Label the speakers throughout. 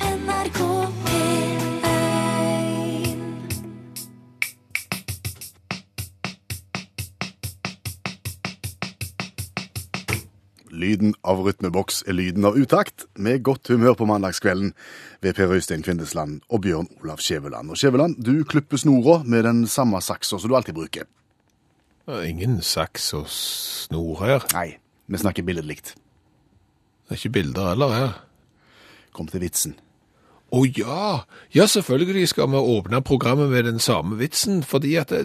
Speaker 1: NRK P1
Speaker 2: Lyden av rytmeboks er lyden av utakt, med godt humør på mandagskvelden ved Per Øystein Kvindesland og Bjørn Olav Skjæveland. Og Skjæveland, du klipper snora med den samme saksa som du alltid bruker.
Speaker 3: Det er Ingen saks og snor her.
Speaker 2: Nei, vi snakker billedlikt.
Speaker 3: Det er ikke bilder heller her.
Speaker 2: Kom til vitsen.
Speaker 3: Å ja! Ja, selvfølgelig skal vi åpne programmet med den samme vitsen, fordi at det,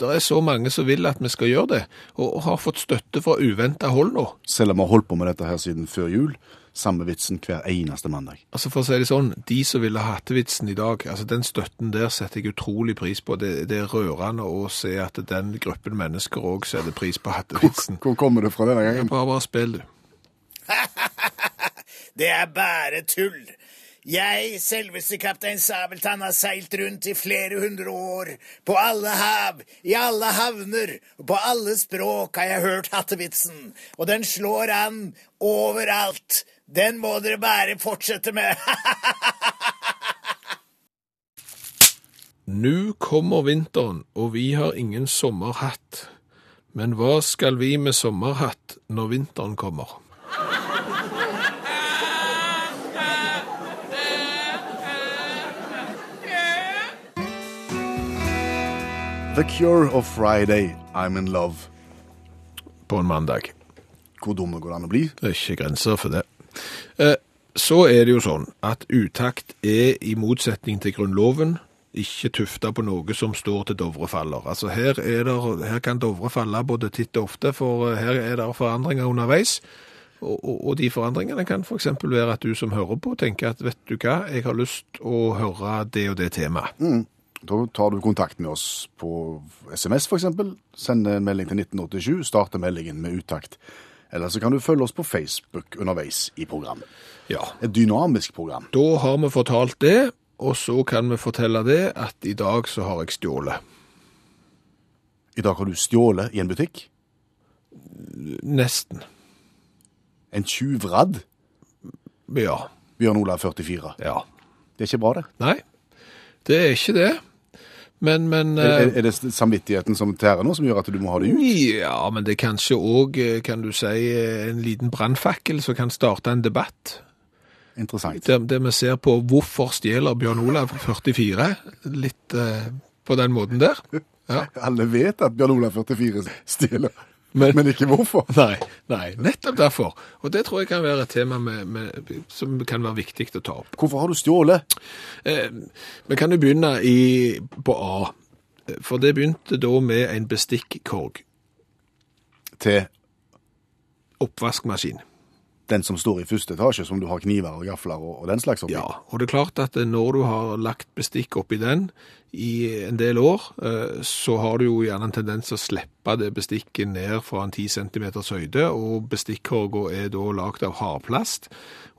Speaker 3: det er så mange som vil at vi skal gjøre det, og, og har fått støtte fra uventa hold nå.
Speaker 2: Selv om vi har holdt på med dette her siden før jul, samme vitsen hver eneste mandag.
Speaker 3: Altså For å si det sånn, de som ville ha hattevitsen i dag, altså den støtten der setter jeg utrolig pris på. Det, det er rørende å se at den gruppen mennesker òg setter pris på hattevitsen.
Speaker 2: Hvor kommer det fra denne gangen?
Speaker 3: Bare, bare spill, du.
Speaker 4: Det er bare tull. Jeg, selveste kaptein Sabeltann, har seilt rundt i flere hundre år. På alle hav, i alle havner og på alle språk har jeg hørt hattevitsen. Og den slår an overalt. Den må dere bare fortsette med.
Speaker 3: Nu kommer vinteren, og vi har ingen sommerhatt. Men hva skal vi med sommerhatt når vinteren kommer?
Speaker 2: The Cure of Friday, I'm in love.
Speaker 3: På en mandag.
Speaker 2: Hvor dumme går det an å bli?
Speaker 3: Det er ikke grenser for det. Eh, Så er det jo sånn at utakt er i motsetning til Grunnloven ikke tufta på noe som står til Dovre faller. Altså her, er der, her kan Dovre falle både titt og ofte, for eh, her er det forandringer underveis. Og, og, og de forandringene kan f.eks. være at du som hører på, tenker at vet du hva, jeg har lyst å høre det og det temaet.
Speaker 2: Da tar du kontakt med oss på SMS for eksempel, sender en melding til 1987, starter meldingen med uttakt. Eller så kan du følge oss på Facebook underveis i programmet.
Speaker 3: Ja,
Speaker 2: Et dynamisk program.
Speaker 3: Da har vi fortalt det, og så kan vi fortelle det at i dag så har jeg stjålet.
Speaker 2: I dag har du stjålet i en butikk.
Speaker 3: Nesten.
Speaker 2: En tjuvradd.
Speaker 3: Ja.
Speaker 2: Bjørn Olav 44.
Speaker 3: ja.
Speaker 2: Det er ikke bra, det.
Speaker 3: Nei, det er ikke det. Men, men
Speaker 2: Er,
Speaker 3: eh,
Speaker 2: er det samvittigheten som tærer nå, som gjør at du må ha det ut?
Speaker 3: Ja, men det er kanskje òg, kan du si, eh, en liten brannfakkel som kan starte en debatt.
Speaker 2: Interessant.
Speaker 3: Der, der vi ser på hvorfor stjeler Bjørn Olav 44, litt eh, på den måten der. Ja.
Speaker 2: Alle vet at Bjørn Olav 44 stjeler, men,
Speaker 3: Men-
Speaker 2: ikke hvorfor.
Speaker 3: Nei, nei, nettopp derfor. Og det tror jeg kan være et tema med, med, som kan være viktig å ta opp.
Speaker 2: Hvorfor har du stjålet?
Speaker 3: Eh, Vi kan jo begynne i, på A. For det begynte da med en bestikkorg.
Speaker 2: Til
Speaker 3: Oppvaskmaskin.
Speaker 2: den som står i første etasje, som du har kniver og gafler og, og den slags oppi.
Speaker 3: Ja, og det er klart at når du har lagt bestikk oppi den i en del år, eh, så har du jo gjerne en tendens til å slippe det bestikket ned fra en 10 cm høyde, og bestikkorga er da lagd av hardplast.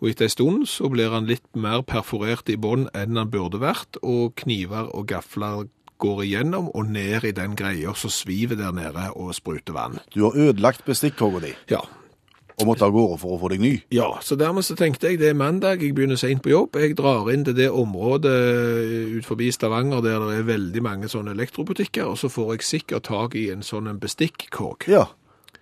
Speaker 3: Og etter en stund så blir han litt mer perforert i bånn enn han burde vært, og kniver og gafler går igjennom og ned i den greia som sviver der nede og spruter vann.
Speaker 2: Du har ødelagt bestikkhogga di
Speaker 3: Ja,
Speaker 2: og måtte av gårde for å få deg ny.
Speaker 3: Ja, så dermed så tenkte jeg det er mandag, jeg begynner sent på jobb. Jeg drar inn til det området eh, ut forbi Stavanger der det er veldig mange sånne elektrobutikker, og så får jeg sikkert tak i en sånn en bestikkorg.
Speaker 2: Ja.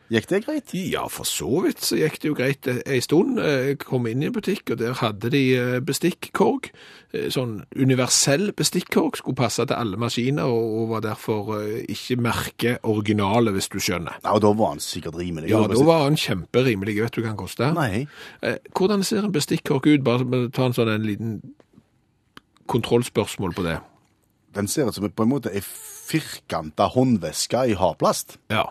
Speaker 2: Gikk det greit?
Speaker 3: Ja, for så vidt så gikk det jo greit ei stund. eh, Jeg kom inn i en butikk, og der hadde de eh, bestikkorg. Eh, Sånn universell bestikkorg skulle passe til alle maskiner, og og var derfor eh, ikke merke originale, hvis du skjønner.
Speaker 2: Ja, og da var han sikkert rimelig.
Speaker 3: Ja, da var han kjemperimelig. Vet du hva han kosta?
Speaker 2: Nei.
Speaker 3: Eh, Hvordan ser en bestikkork ut? Bare bare ta en sånn en liten kontrollspørsmål på det.
Speaker 2: Den ser ut som på en måte ei firkanta håndveske i hardplast.
Speaker 3: Ja.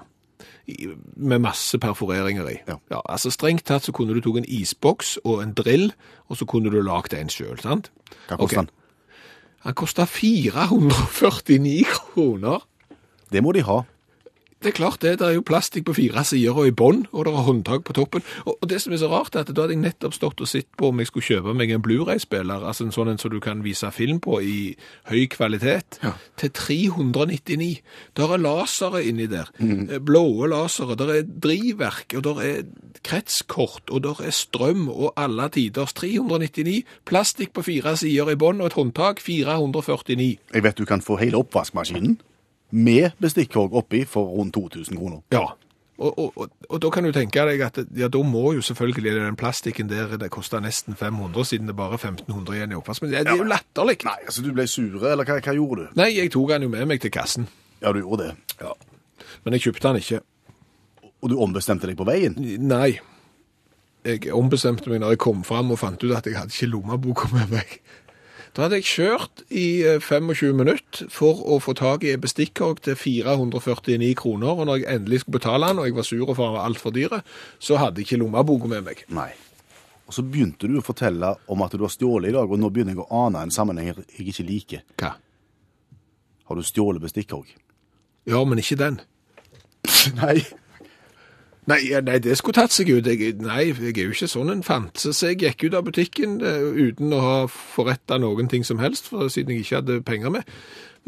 Speaker 3: I- Med masse perforeringer i.
Speaker 2: Ja.
Speaker 3: altså Strengt tatt så kunne du tatt en isboks og en drill, og så kunne du lagd en sjøl, sant?
Speaker 2: Hva koster
Speaker 3: Ok. Han kosta 449 kroner.
Speaker 2: den? Det må de ha.
Speaker 3: Det er klart det. Det er jo plastikk på fire sider og i bånd, og det er håndtak på toppen. Og og det som er så rart, er at da hadde jeg nettopp stått og sett på om jeg skulle kjøpe meg en Blu-ray-spiller, altså en sånn en som du kan vise film på i høy kvalitet, til 399. Der er lasere inni der. Eh, Blåe lasere. Der er drivverk, og der er kretskort, og der er strøm og alle tiders. 399. Plastikk på fire sider i bånd og et håndtak. 449.
Speaker 2: Jeg vet du kan få hele oppvaskmaskinen med bestikkorg oppi for rundt 2000 kroner.
Speaker 3: Ja. Og, og, og, og da kan du tenke deg at ja, da må jo selvfølgelig den plastikken der det koster nesten 500, siden det er bare 1500 igjen i oppvask. Men det, det er jo latterlig.
Speaker 2: Nei, altså du ble sure, eller hva, hva gjorde du?
Speaker 3: Nei, jeg tok den jo med meg til kassen.
Speaker 2: Ja, du gjorde det.
Speaker 3: Men jeg kjøpte den ikke.
Speaker 2: Og du ombestemte deg på veien?
Speaker 3: Nei. Jeg ombestemte meg når jeg kom fram og fant ut at jeg hadde ikke lommeboka med meg. Da hadde jeg kjørt i eh, 25 minutter for å få tak i en bestikkorg til 449 kroner, og når jeg endelig skulle betale den, og jeg var sur og for den var altfor dyre, så hadde jeg ikke lommeboka med meg.
Speaker 2: Nei. Og så begynte du å fortelle om at du har stjålet i dag, og nå begynner jeg å ane en sammenheng jeg ikke liker.
Speaker 3: Hva?
Speaker 2: Har du stjålet bestikkorg?
Speaker 3: Ja, men ikke den.
Speaker 2: Nei.
Speaker 3: Nei, ja, nei, det skulle tatt seg ut. Jeg, nei, jeg er jo ikke sånn en fantse, så jeg gikk ut av butikken eh, uten å ha forretta noen ting som helst, for, siden jeg ikke hadde penger med.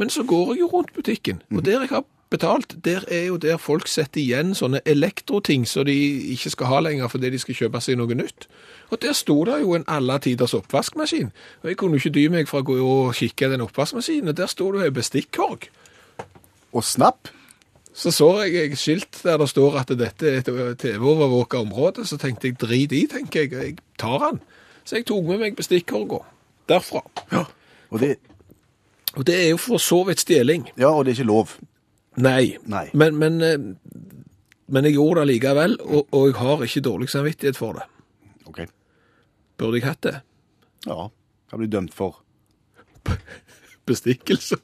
Speaker 3: Men så går jeg jo rundt butikken, og der jeg har betalt, der er jo der folk setter igjen sånne elektroting som de ikke skal ha lenger fordi de skal kjøpe seg noe nytt. Og der sto det jo en alle tiders oppvaskmaskin, og jeg kunne jo ikke dy meg fra å gå og kikke i den oppvaskmaskinen, og der sto det jo en bestikkorg.
Speaker 2: Og snapp?
Speaker 3: Så så jeg et skilt der det står at dette er et TV-overvåka område, så tenkte jeg drit i, tenker jeg, jeg tar den. Så jeg tok med meg bestikkorga derfra.
Speaker 2: Og det,
Speaker 3: Og det er jo for så vidt stjeling.
Speaker 2: ja, og det er ikke lov.
Speaker 3: Nei.
Speaker 2: Nei.
Speaker 3: Men, men, eh, men jeg gjorde det likevel, og, og jeg har ikke dårlig samvittighet for det.
Speaker 2: Ok.
Speaker 3: Burde jeg hatt det?
Speaker 2: Ja, kan bli dømt for.
Speaker 3: Bestikkelser?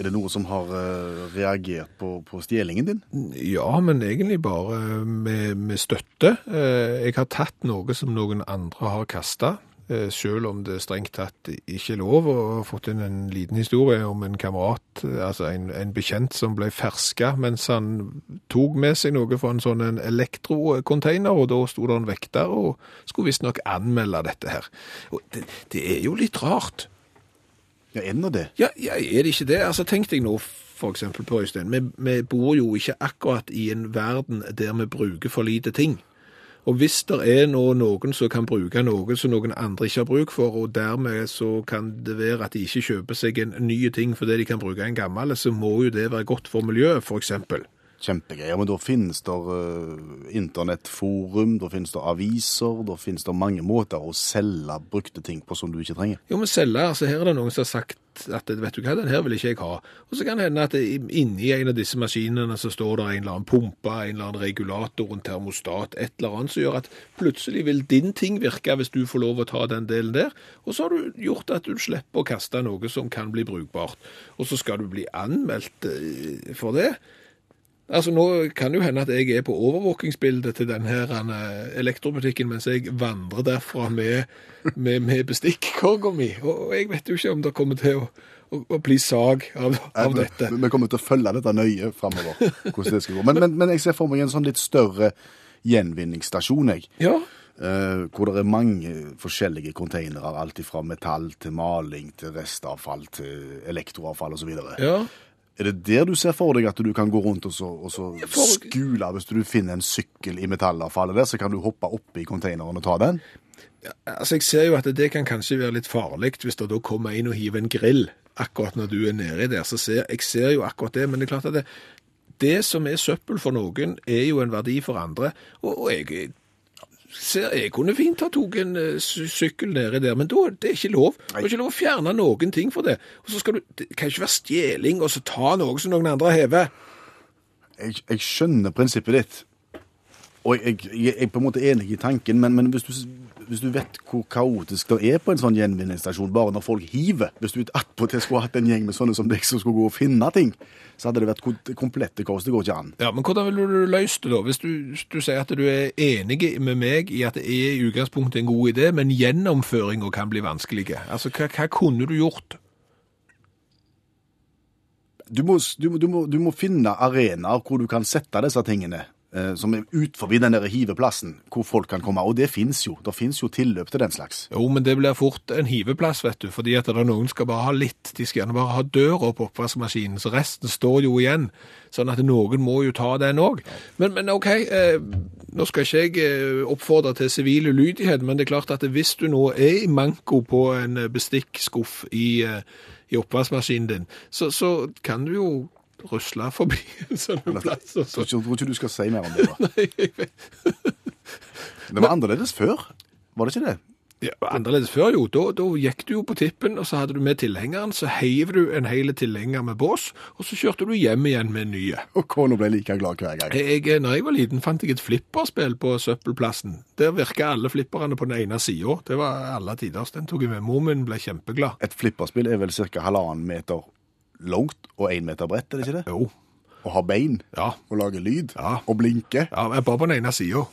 Speaker 2: Er det noe som har eh, reagert på, på stjelingen din?
Speaker 3: Ja, men egentlig bare med, med støtte. Eh, Jeg har tatt noe som noen andre har kasta, selv om det strengt tatt ikke er lov. Og jeg har fått inn en liten historie om en kamerat, eh, altså en, en bekjent, som ble ferska mens han tok med seg noe fra en sånn en elektrocontainer, og da sto det en vekter og skulle visstnok anmelde dette her. Og det, det er jo litt rart.
Speaker 2: Ja, er det nå det?
Speaker 3: Ja, ja, er det ikke det? Altså, tenk deg nå for eksempel på Øystein, vi, vi bor jo ikke akkurat i en verden der vi bruker for lite ting. Og hvis det er nå noen som kan bruke noe som noen andre ikke har bruk for, og dermed så kan det være at de ikke kjøper seg en ny ting fordi de kan bruke en gammel, så må jo det være godt for miljøet, for eksempel.
Speaker 2: Kjempegreier. Men da finnes det eh, internettforum, da finnes det aviser, da finnes det mange måter å selge brukte ting på som du ikke trenger.
Speaker 3: Jo, men selger, altså her er det noen som har sagt at vet du hva, den her vil ikke jeg ha. Og så kan det hende at det, inni en av disse maskinene så står det en eller annen pumpe, en eller annen regulator, en termostat, et eller annet som gjør at plutselig vil din ting virke hvis du får lov å ta den delen der. Og så har du gjort at du slipper å kaste noe som kan bli brukbart. Og så skal du bli anmeldt eh, for det. Altså Nå kan det jo hende at jeg er på overvåkingsbildet til denne her, han, eh, elektrobutikken mens jeg vandrer derfra med, med, med bestikkorga mi. Og og jeg vet jo ikke om det kommer til å, å, å bli sag av, av
Speaker 2: Vi-
Speaker 3: dette.
Speaker 2: Eh, Vi kommer til å følge dette nøye framover, hvordan det skal gå. Men, men, men jeg ser for meg en sånn litt større gjenvinningsstasjon, jeg.
Speaker 3: Ja,
Speaker 2: Eh, hvor det er mange forskjellige containere, alt fra metall til maling til restavfall til elektroavfall osv.
Speaker 3: ja.
Speaker 2: Er det der du ser for deg at du kan gå rundt og så, og så
Speaker 3: for-
Speaker 2: skule hvis du finner en sykkel i metallavfallet der, så kan du hoppe oppi containeren og ta den?
Speaker 3: Altså Jeg ser jo at det kan kanskje være litt farlig hvis det da kommer en og hiver en grill akkurat når du er nedi der. Så ser, jeg ser jo akkurat det, men det er klart at det, det som er søppel for noen, er jo en verdi for andre. Og, og jeg ser jeg kunne fint ha tatt en eh, sy- sykkel nedi der, men da, det er ikke lov. Det er ikke lov å fjerne noen ting for det. Og så skal du, Det kan ikke være stjeling og så ta noe som noen andre hever.
Speaker 2: Jeg, jeg skjønner prinsippet ditt, og jeg, jeg, jeg er på en måte enig i tanken, men, men hvis, du, s- hvis du vet hvor kaotisk det er på en sånn gjenvinningsstasjon, bare når folk hiver Hvis du attpåtil skulle hatt en gjeng med sånne som deg som skulle gå og finne ting, så hadde det vært ko- det komplette kaos. Det går ikke an.
Speaker 3: Ja, Men hvordan ville du løst det, da? Hvis du, hvis du sier at du er enig med meg i at det er i utgangspunktet en god idé, men gjennomføringa kan bli vanskelig. Altså, hva, hva kunne du gjort?
Speaker 2: du, må, du, må, du, må, du må finne arenaer hvor du kan sette disse tingene, eh, som er ut forbi den der hiveplassen, hvor folk kan komme. Og det finnes jo. Det finnes jo tilløp til den slags.
Speaker 3: Jo, men det blir fort en hiveplass, vet du, fordi at det er noen skal bare ha litt. De skal gjerne bare ha døra på oppvaskmaskinen, så resten står jo igjen. Sånn at noen må jo ta den òg. Men, men OK, eh, nå skal ikke jeg eh, oppfordre til sivil ulydighet, men det er klart at hvis du nå er i manko på en eh, bestikkskuff i, eh, i oppvaskmaskinen din, så, så kan du jo rusle forbi en sånn plass. Og
Speaker 2: Jeg
Speaker 3: så.
Speaker 2: tror ikke, tror ikke du skal si mer om det. da.
Speaker 3: Nei, jeg vet
Speaker 2: Det var annerledes før, var det ikke det?
Speaker 3: Ja, annerledes før jo. Da, da gikk du jo på tippen, og så hadde du med tilhengeren, så heiv du en hel tilhenger med bås, og så kjørte du hjem igjen med nye.
Speaker 2: Og kona ble like glad hver gang.
Speaker 3: Jeg, når jeg var liten, fant jeg et flipperspill på søppelplassen. Der virka alle flipperne på den ene sida. Det var alle tiders. Den tok jeg med. Mor min ble kjempeglad.
Speaker 2: Et flipperspill er vel ca. halvannen meter langt og én meter bredt, er det ikke det?
Speaker 3: Jo.
Speaker 2: Og har bein.
Speaker 3: Ja.
Speaker 2: Og lager lyd.
Speaker 3: Ja.
Speaker 2: Og blinker.
Speaker 3: ja men bare på den ene sida.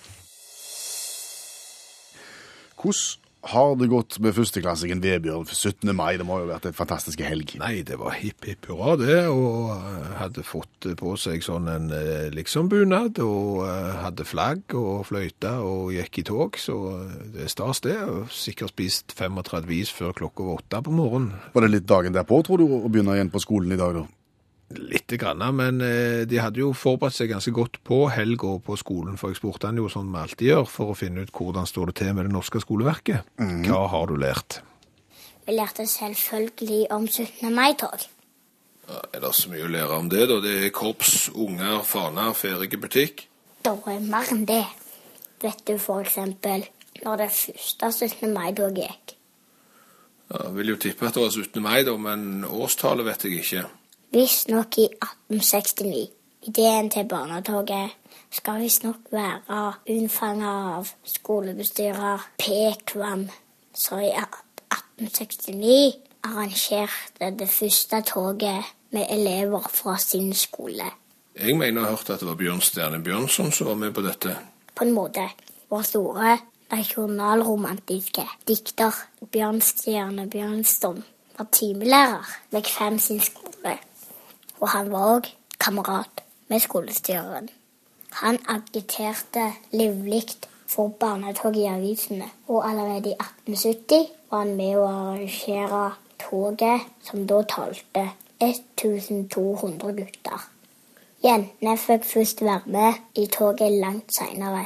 Speaker 2: Hvordan har det gått med førsteklassingen Vebjørn 17. mai? Det må jo ha vært en fantastisk helg.
Speaker 3: Nei, det var hipp hipp hurra det, og eh, hadde fått på seg sånn en eh, liksom-bunad, og eh, hadde flagg og fløyte og gikk i tog, så eh, det er stas det. og Sikkert spist 35 is før klokka var åtte på morgenen.
Speaker 2: Var det litt dagen derpå, tror du, å begynne igjen på skolen i dag, da?
Speaker 3: Litt grann, men eh, de hadde jo forberedt seg ganske godt på helga på skolen, for jeg spurte han jo sånn vi alltid gjør, for å finne ut hvordan står det til med det norske skoleverket. Hva har du lært?
Speaker 1: Vi lærte selvfølgelig om 17. mai-tog.
Speaker 3: Er det så mye å lære om det, da? Det er korps, unger, faner, ferdig butikk.
Speaker 1: Det er mer enn det. Vet du for eksempel når det første 17. mai-toget gikk?
Speaker 3: Ja, Jeg vil jo tippe at det var 17. mai, da, men årstallet vet jeg ikke.
Speaker 1: Visstnok i 1869. Ideen til barnetoget skal visstnok være unnfanga av skolebestyrer P. Kvam. Så i 1869 arrangerte det første toget med elever fra sin skole.
Speaker 3: Jeg mener jeg har hørt at det var Bjørn Stjerne Bjørnson som var med på dette.
Speaker 1: på en måte vår store nasjonalromantiske dikter Bjørnstjerne Bjørnston var timelærer ved Kvem sin skole. Og han var òg kamerat med skolestyreren. Han agiterte livlig for barnetog i avisene, og allerede i 1870 var han med å arrangere toget som da talte 1200 gutter. Jentene fikk først være med i toget langt seinere.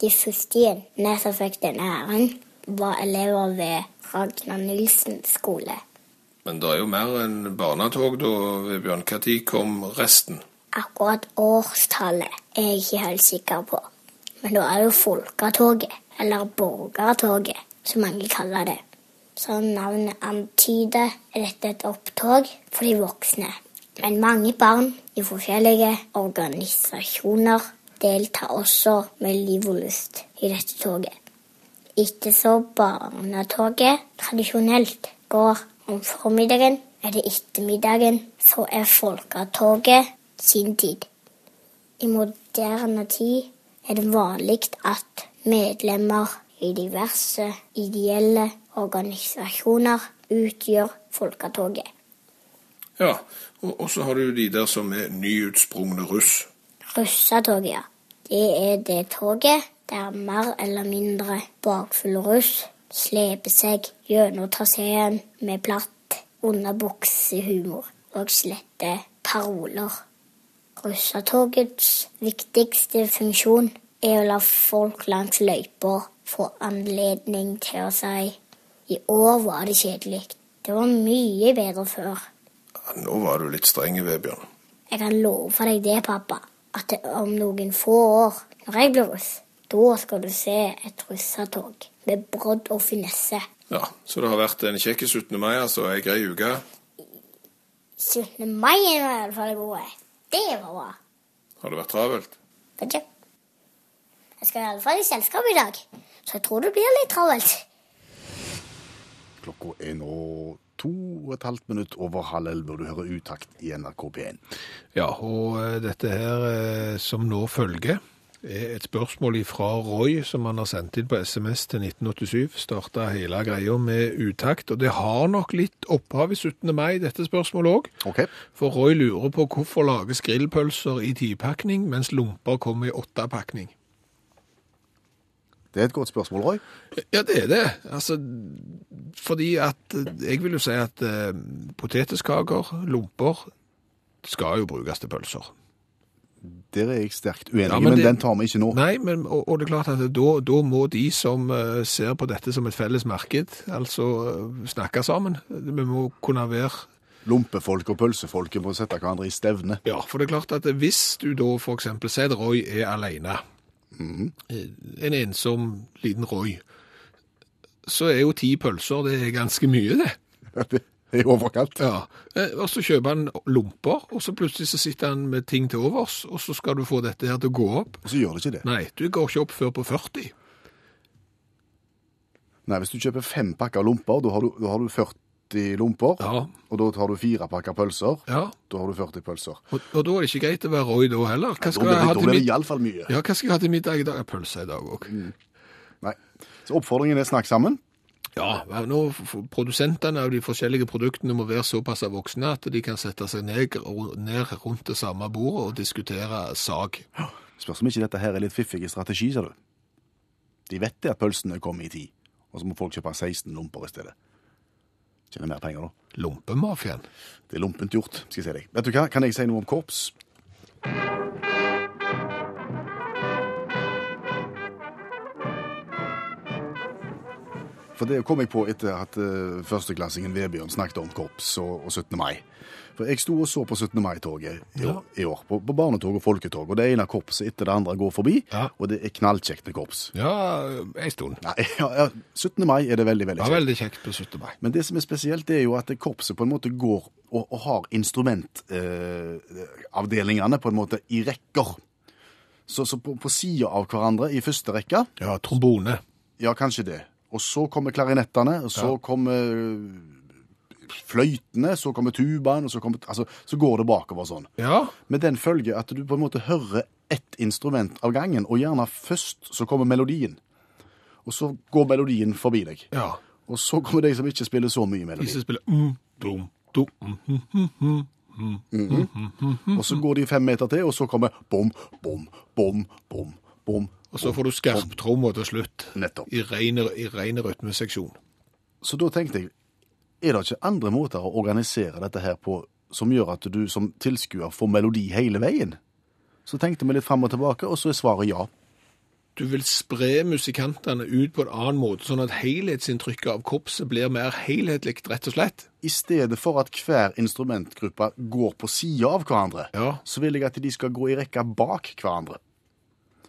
Speaker 1: De første jentene som fikk denne æren, var elever ved Ragnar Nilsen skole.
Speaker 3: Men det er jo mer enn barnetog, da, ved Bjørn. Når kom resten?
Speaker 1: Akkurat årstallet er jeg ikke helt sikker på. Men da er det jo Folketoget, eller Borgertoget, som mange kaller det. Som navnet antyder, er dette et opptog for de voksne. Men mange barn i forskjellige organisasjoner deltar også med liv og lyst i dette toget. Ikke så barnetoget tradisjonelt går om formiddagen eller ettermiddagen, så er folketoget sin tid. I moderne tid er det vanlig at medlemmer i diverse ideelle organisasjoner utgjør folketoget.
Speaker 3: Ja, og, og så har du jo de der som er nyutsprungne russ.
Speaker 1: Russetoget, ja. Det er det toget der mer eller mindre bakfull russ sleper seg gjennom traseen med platt underbuksehumor og slette paroler. Russetogets viktigste funksjon er å la folk langs løypa få anledning til å si i år var det kjedelig. Det var mye bedre før.
Speaker 3: Ja, nå var du litt streng, ved Bjørn.
Speaker 1: Jeg kan love deg det, pappa, at det- om noen få år, når jeg blir russ, da skal du se et russetog med brodd og finesse.
Speaker 3: Ja, så det har vært en kjekk 17. mai, altså. Ei grei uke.
Speaker 1: 17. mai er nå i hvert fall god. Det var bra.
Speaker 3: Har det vært travelt?
Speaker 1: Vet du? Jeg skal i alle fall i selskap i dag, så jeg tror det blir litt travelt.
Speaker 2: Klokka er nå to og et halvt minutt over halv elleve, og du hører utakt i NRK P1.
Speaker 3: Ja, og eh, dette her eh, som nå følger, er et spørsmål fra Roy, som han har sendt inn på SMS til 1987. Starta hele greia med utakt, og det har nok litt opphav i 17. mai, dette spørsmålet òg.
Speaker 2: Ok.
Speaker 3: For Roy lurer på hvorfor lages grillpølser i tipakning, mens lomper kommer i åttapakning.
Speaker 2: Det er et godt spørsmål, Roy.
Speaker 3: Ja, det er det. Altså, fordi at Jeg vil jo si at eh, potetskaker, lomper, skal jo brukes til pølser.
Speaker 2: Der er jeg sterkt uenig,
Speaker 3: Ja, men
Speaker 2: men,
Speaker 3: det-
Speaker 2: den tar vi ikke nå.
Speaker 3: Nei, men, og, og det er klart at da, da må de som eh, ser på dette som et felles marked, altså eh, snakke sammen. Vi må kunne være
Speaker 2: Lompefolk og pølsefolket må sette hverandre i stevne.
Speaker 3: Ja, for det er klart at hvis du da for eksempel sier at Roy er alene, eh, en ensom liten Roy, så er jo ti pølser, det er ganske mye det.
Speaker 2: I overkant.
Speaker 3: Ja, eh, og så kjøper han lomper, og så plutselig så sitter han med ting til overs, og så skal du få dette her til å gå opp.
Speaker 2: Og så gjør det ikke det. Nei.
Speaker 3: Nei, du går ikke opp før på 40.
Speaker 2: hvis du kjøper fem pakker lomper, da har du, da har du 40 lomper.
Speaker 3: Ja.
Speaker 2: Og da tar du fire pakker pølser.
Speaker 3: Ja,
Speaker 2: Da har du 40 pølser.
Speaker 3: og, og da er det ikke greit å være Roy da heller. Hva
Speaker 2: Da
Speaker 3: skal
Speaker 2: blir
Speaker 3: jeg
Speaker 2: det,
Speaker 3: ha
Speaker 2: da
Speaker 3: til
Speaker 2: blir det Mm.
Speaker 3: middag?
Speaker 2: iallfall mye.
Speaker 3: Ja, hva skal jeg ha til middag i dag? Ja, Pølse i dag også.
Speaker 2: Nei. Så oppfordringen er snakk sammen.
Speaker 3: Ja, vær nå f- produsentene av de forskjellige produktene må være såpass voksne at de kan sette seg ned, ru- ned rundt det samme bordet og diskutere sag.
Speaker 2: Spørs om ikke dette her er litt fiffig strategi, ser du. De vet det at pølsene kommer i tid, og så må folk kjøpe 16 lomper i stedet. Tjener mer penger, da.
Speaker 3: Lompemafiaen.
Speaker 2: Det er lompent gjort, skal jeg si deg. Vet du hva, kan jeg si noe om korps? For det kom jeg på etter at eh, førsteklassingen Vebjørn snakket om korps og, og 17. mai. For jeg sto og så på 17. mai-toget i, år- i år, på, på barnetog og folketog. Og det ene korpset etter det andre går forbi,
Speaker 3: Ja.
Speaker 2: og det er knallkjekt med korps.
Speaker 3: Ja, en stund.
Speaker 2: Nei, ja, ja, 17. mai er det veldig, veldig
Speaker 3: Det var
Speaker 2: kjekt.
Speaker 3: veldig kjekt på 17. mai.
Speaker 2: Men det som er spesielt, det er jo at korpset på en måte går og, og har instrumentavdelingene eh, avdelingene på en måte i rekker. Så, så på, på sida av hverandre i første rekke,
Speaker 3: Ja, trombone.
Speaker 2: ja, kanskje det. Og så kommer klarinettene, og så kommer eh, fløytene, så kommer tubaen, og så, kommer, altså, så går det bakover sånn.
Speaker 3: Ja,
Speaker 2: Med den følge at du på en måte hører ett instrument av gangen, og gjerne først så kommer melodien. Og så går melodien forbi deg.
Speaker 3: ja.
Speaker 2: Og så kommer de som ikke spiller så mye
Speaker 3: De
Speaker 2: melodi.
Speaker 3: som spiller mm, dum, dum, mm, mm.
Speaker 2: Og så går de fem meter til, og så kommer bom, bom, bom, bom, bom.
Speaker 3: Og så får du skarptromma til slutt.
Speaker 2: Nettopp.
Speaker 3: I rene, i rene rytmeseksjon.
Speaker 2: Så da tenkte jeg, er det ikke andre måter å organisere dette her på som gjør at du som tilskuer får melodi hele veien? Så tenkte vi litt fram og tilbake, og så er svaret ja.
Speaker 3: Du vil spre musikantene ut på en annen måte, sånn at helhetsinntrykket av korpset blir mer helhetlig, rett og slett.
Speaker 2: I stedet for at hver instrumentgruppe går på sida av hverandre,
Speaker 3: Ja.
Speaker 2: så vil jeg at de skal gå i rekka bak hverandre.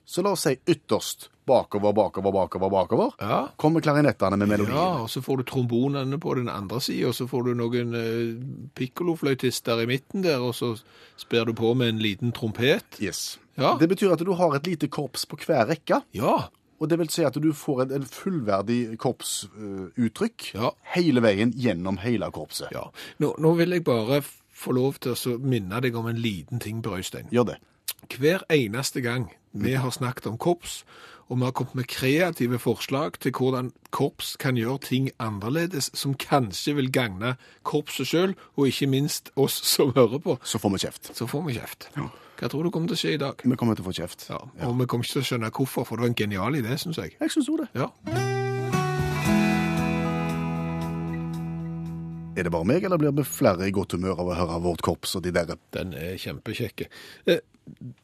Speaker 2: Så la oss si ytterst bakover, bakover, bakover, bakover.
Speaker 3: Ja.
Speaker 2: Kommer klarinettene med melodien.
Speaker 3: Ja, og så får du trombonene på den andre siden, og så får du noen eh, pikkolofløytister i midten der, og så sper du på med en liten trompet.
Speaker 2: Yes.
Speaker 3: Ja.
Speaker 2: Det betyr at du har et lite korps på hver rekke,
Speaker 3: Ja,
Speaker 2: og det vil si at du får en, en fullverdig korpsuttrykk
Speaker 3: Ja.
Speaker 2: hele veien gjennom hele korpset.
Speaker 3: ja. Nå, nå vil jeg bare f- få lov til å så minne deg om en liten ting, Brøystein.
Speaker 2: Gjør det.
Speaker 3: Hver eneste gang vi har snakket om korps, og vi har kommet med kreative forslag til hvordan korps kan gjøre ting annerledes, som kanskje vil gagne korpset selv, og ikke minst oss som hører på,
Speaker 2: Så får vi kjeft.
Speaker 3: så får vi kjeft. Hva tror du kommer til å skje i dag?
Speaker 2: Vi kommer til å få kjeft.
Speaker 3: Ja, og vi kommer ikke til å skjønne hvorfor, for det var en genial idé, synes jeg.
Speaker 2: Jeg syns jo det.
Speaker 3: Ja.
Speaker 2: Er det bare meg, eller blir vi flere i godt humør av å høre vårt korps og de der?
Speaker 3: Den er kjempekjekke. Eh,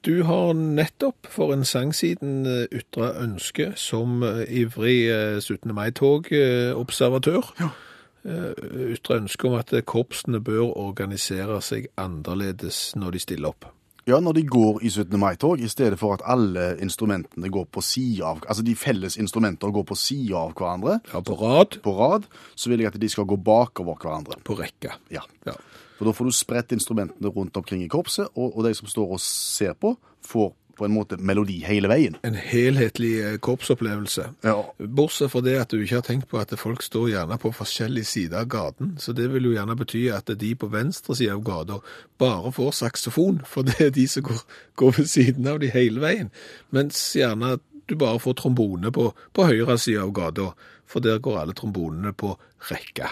Speaker 3: Du har nettopp for en sang siden eh, ytra ønske som eh, ivrig eh, 17. mai-tog-observatør. Ytre Eh, ønske om at eh, korpsene bør organisere seg annerledes når de stiller opp.
Speaker 2: Ja, når de går i 17. mai-tog, i stedet for at alle instrumentene går på sida av Altså de felles instrumenter går på sida av hverandre
Speaker 3: Ja, på rad,
Speaker 2: på rad, så vil jeg at de skal gå bakover hverandre.
Speaker 3: på rekke.
Speaker 2: Ja.
Speaker 3: Ja.
Speaker 2: For da får du spredt instrumentene rundt omkring i korpset, og, og de som står og ser på, får på en måte melodi hele veien.
Speaker 3: En helhetlig eh, korpsopplevelse.
Speaker 2: Ja.
Speaker 3: Bortsett fra det at du ikke har tenkt på at folk står gjerne på forskjellig side av gaten, så det vil jo gjerne bety at de på venstre side av gata bare får saksofon, for det er de som går, går ved siden av de hele veien, mens gjerne du bare får trombone på, på høyre side av gata, for der går alle trombonene på rekka.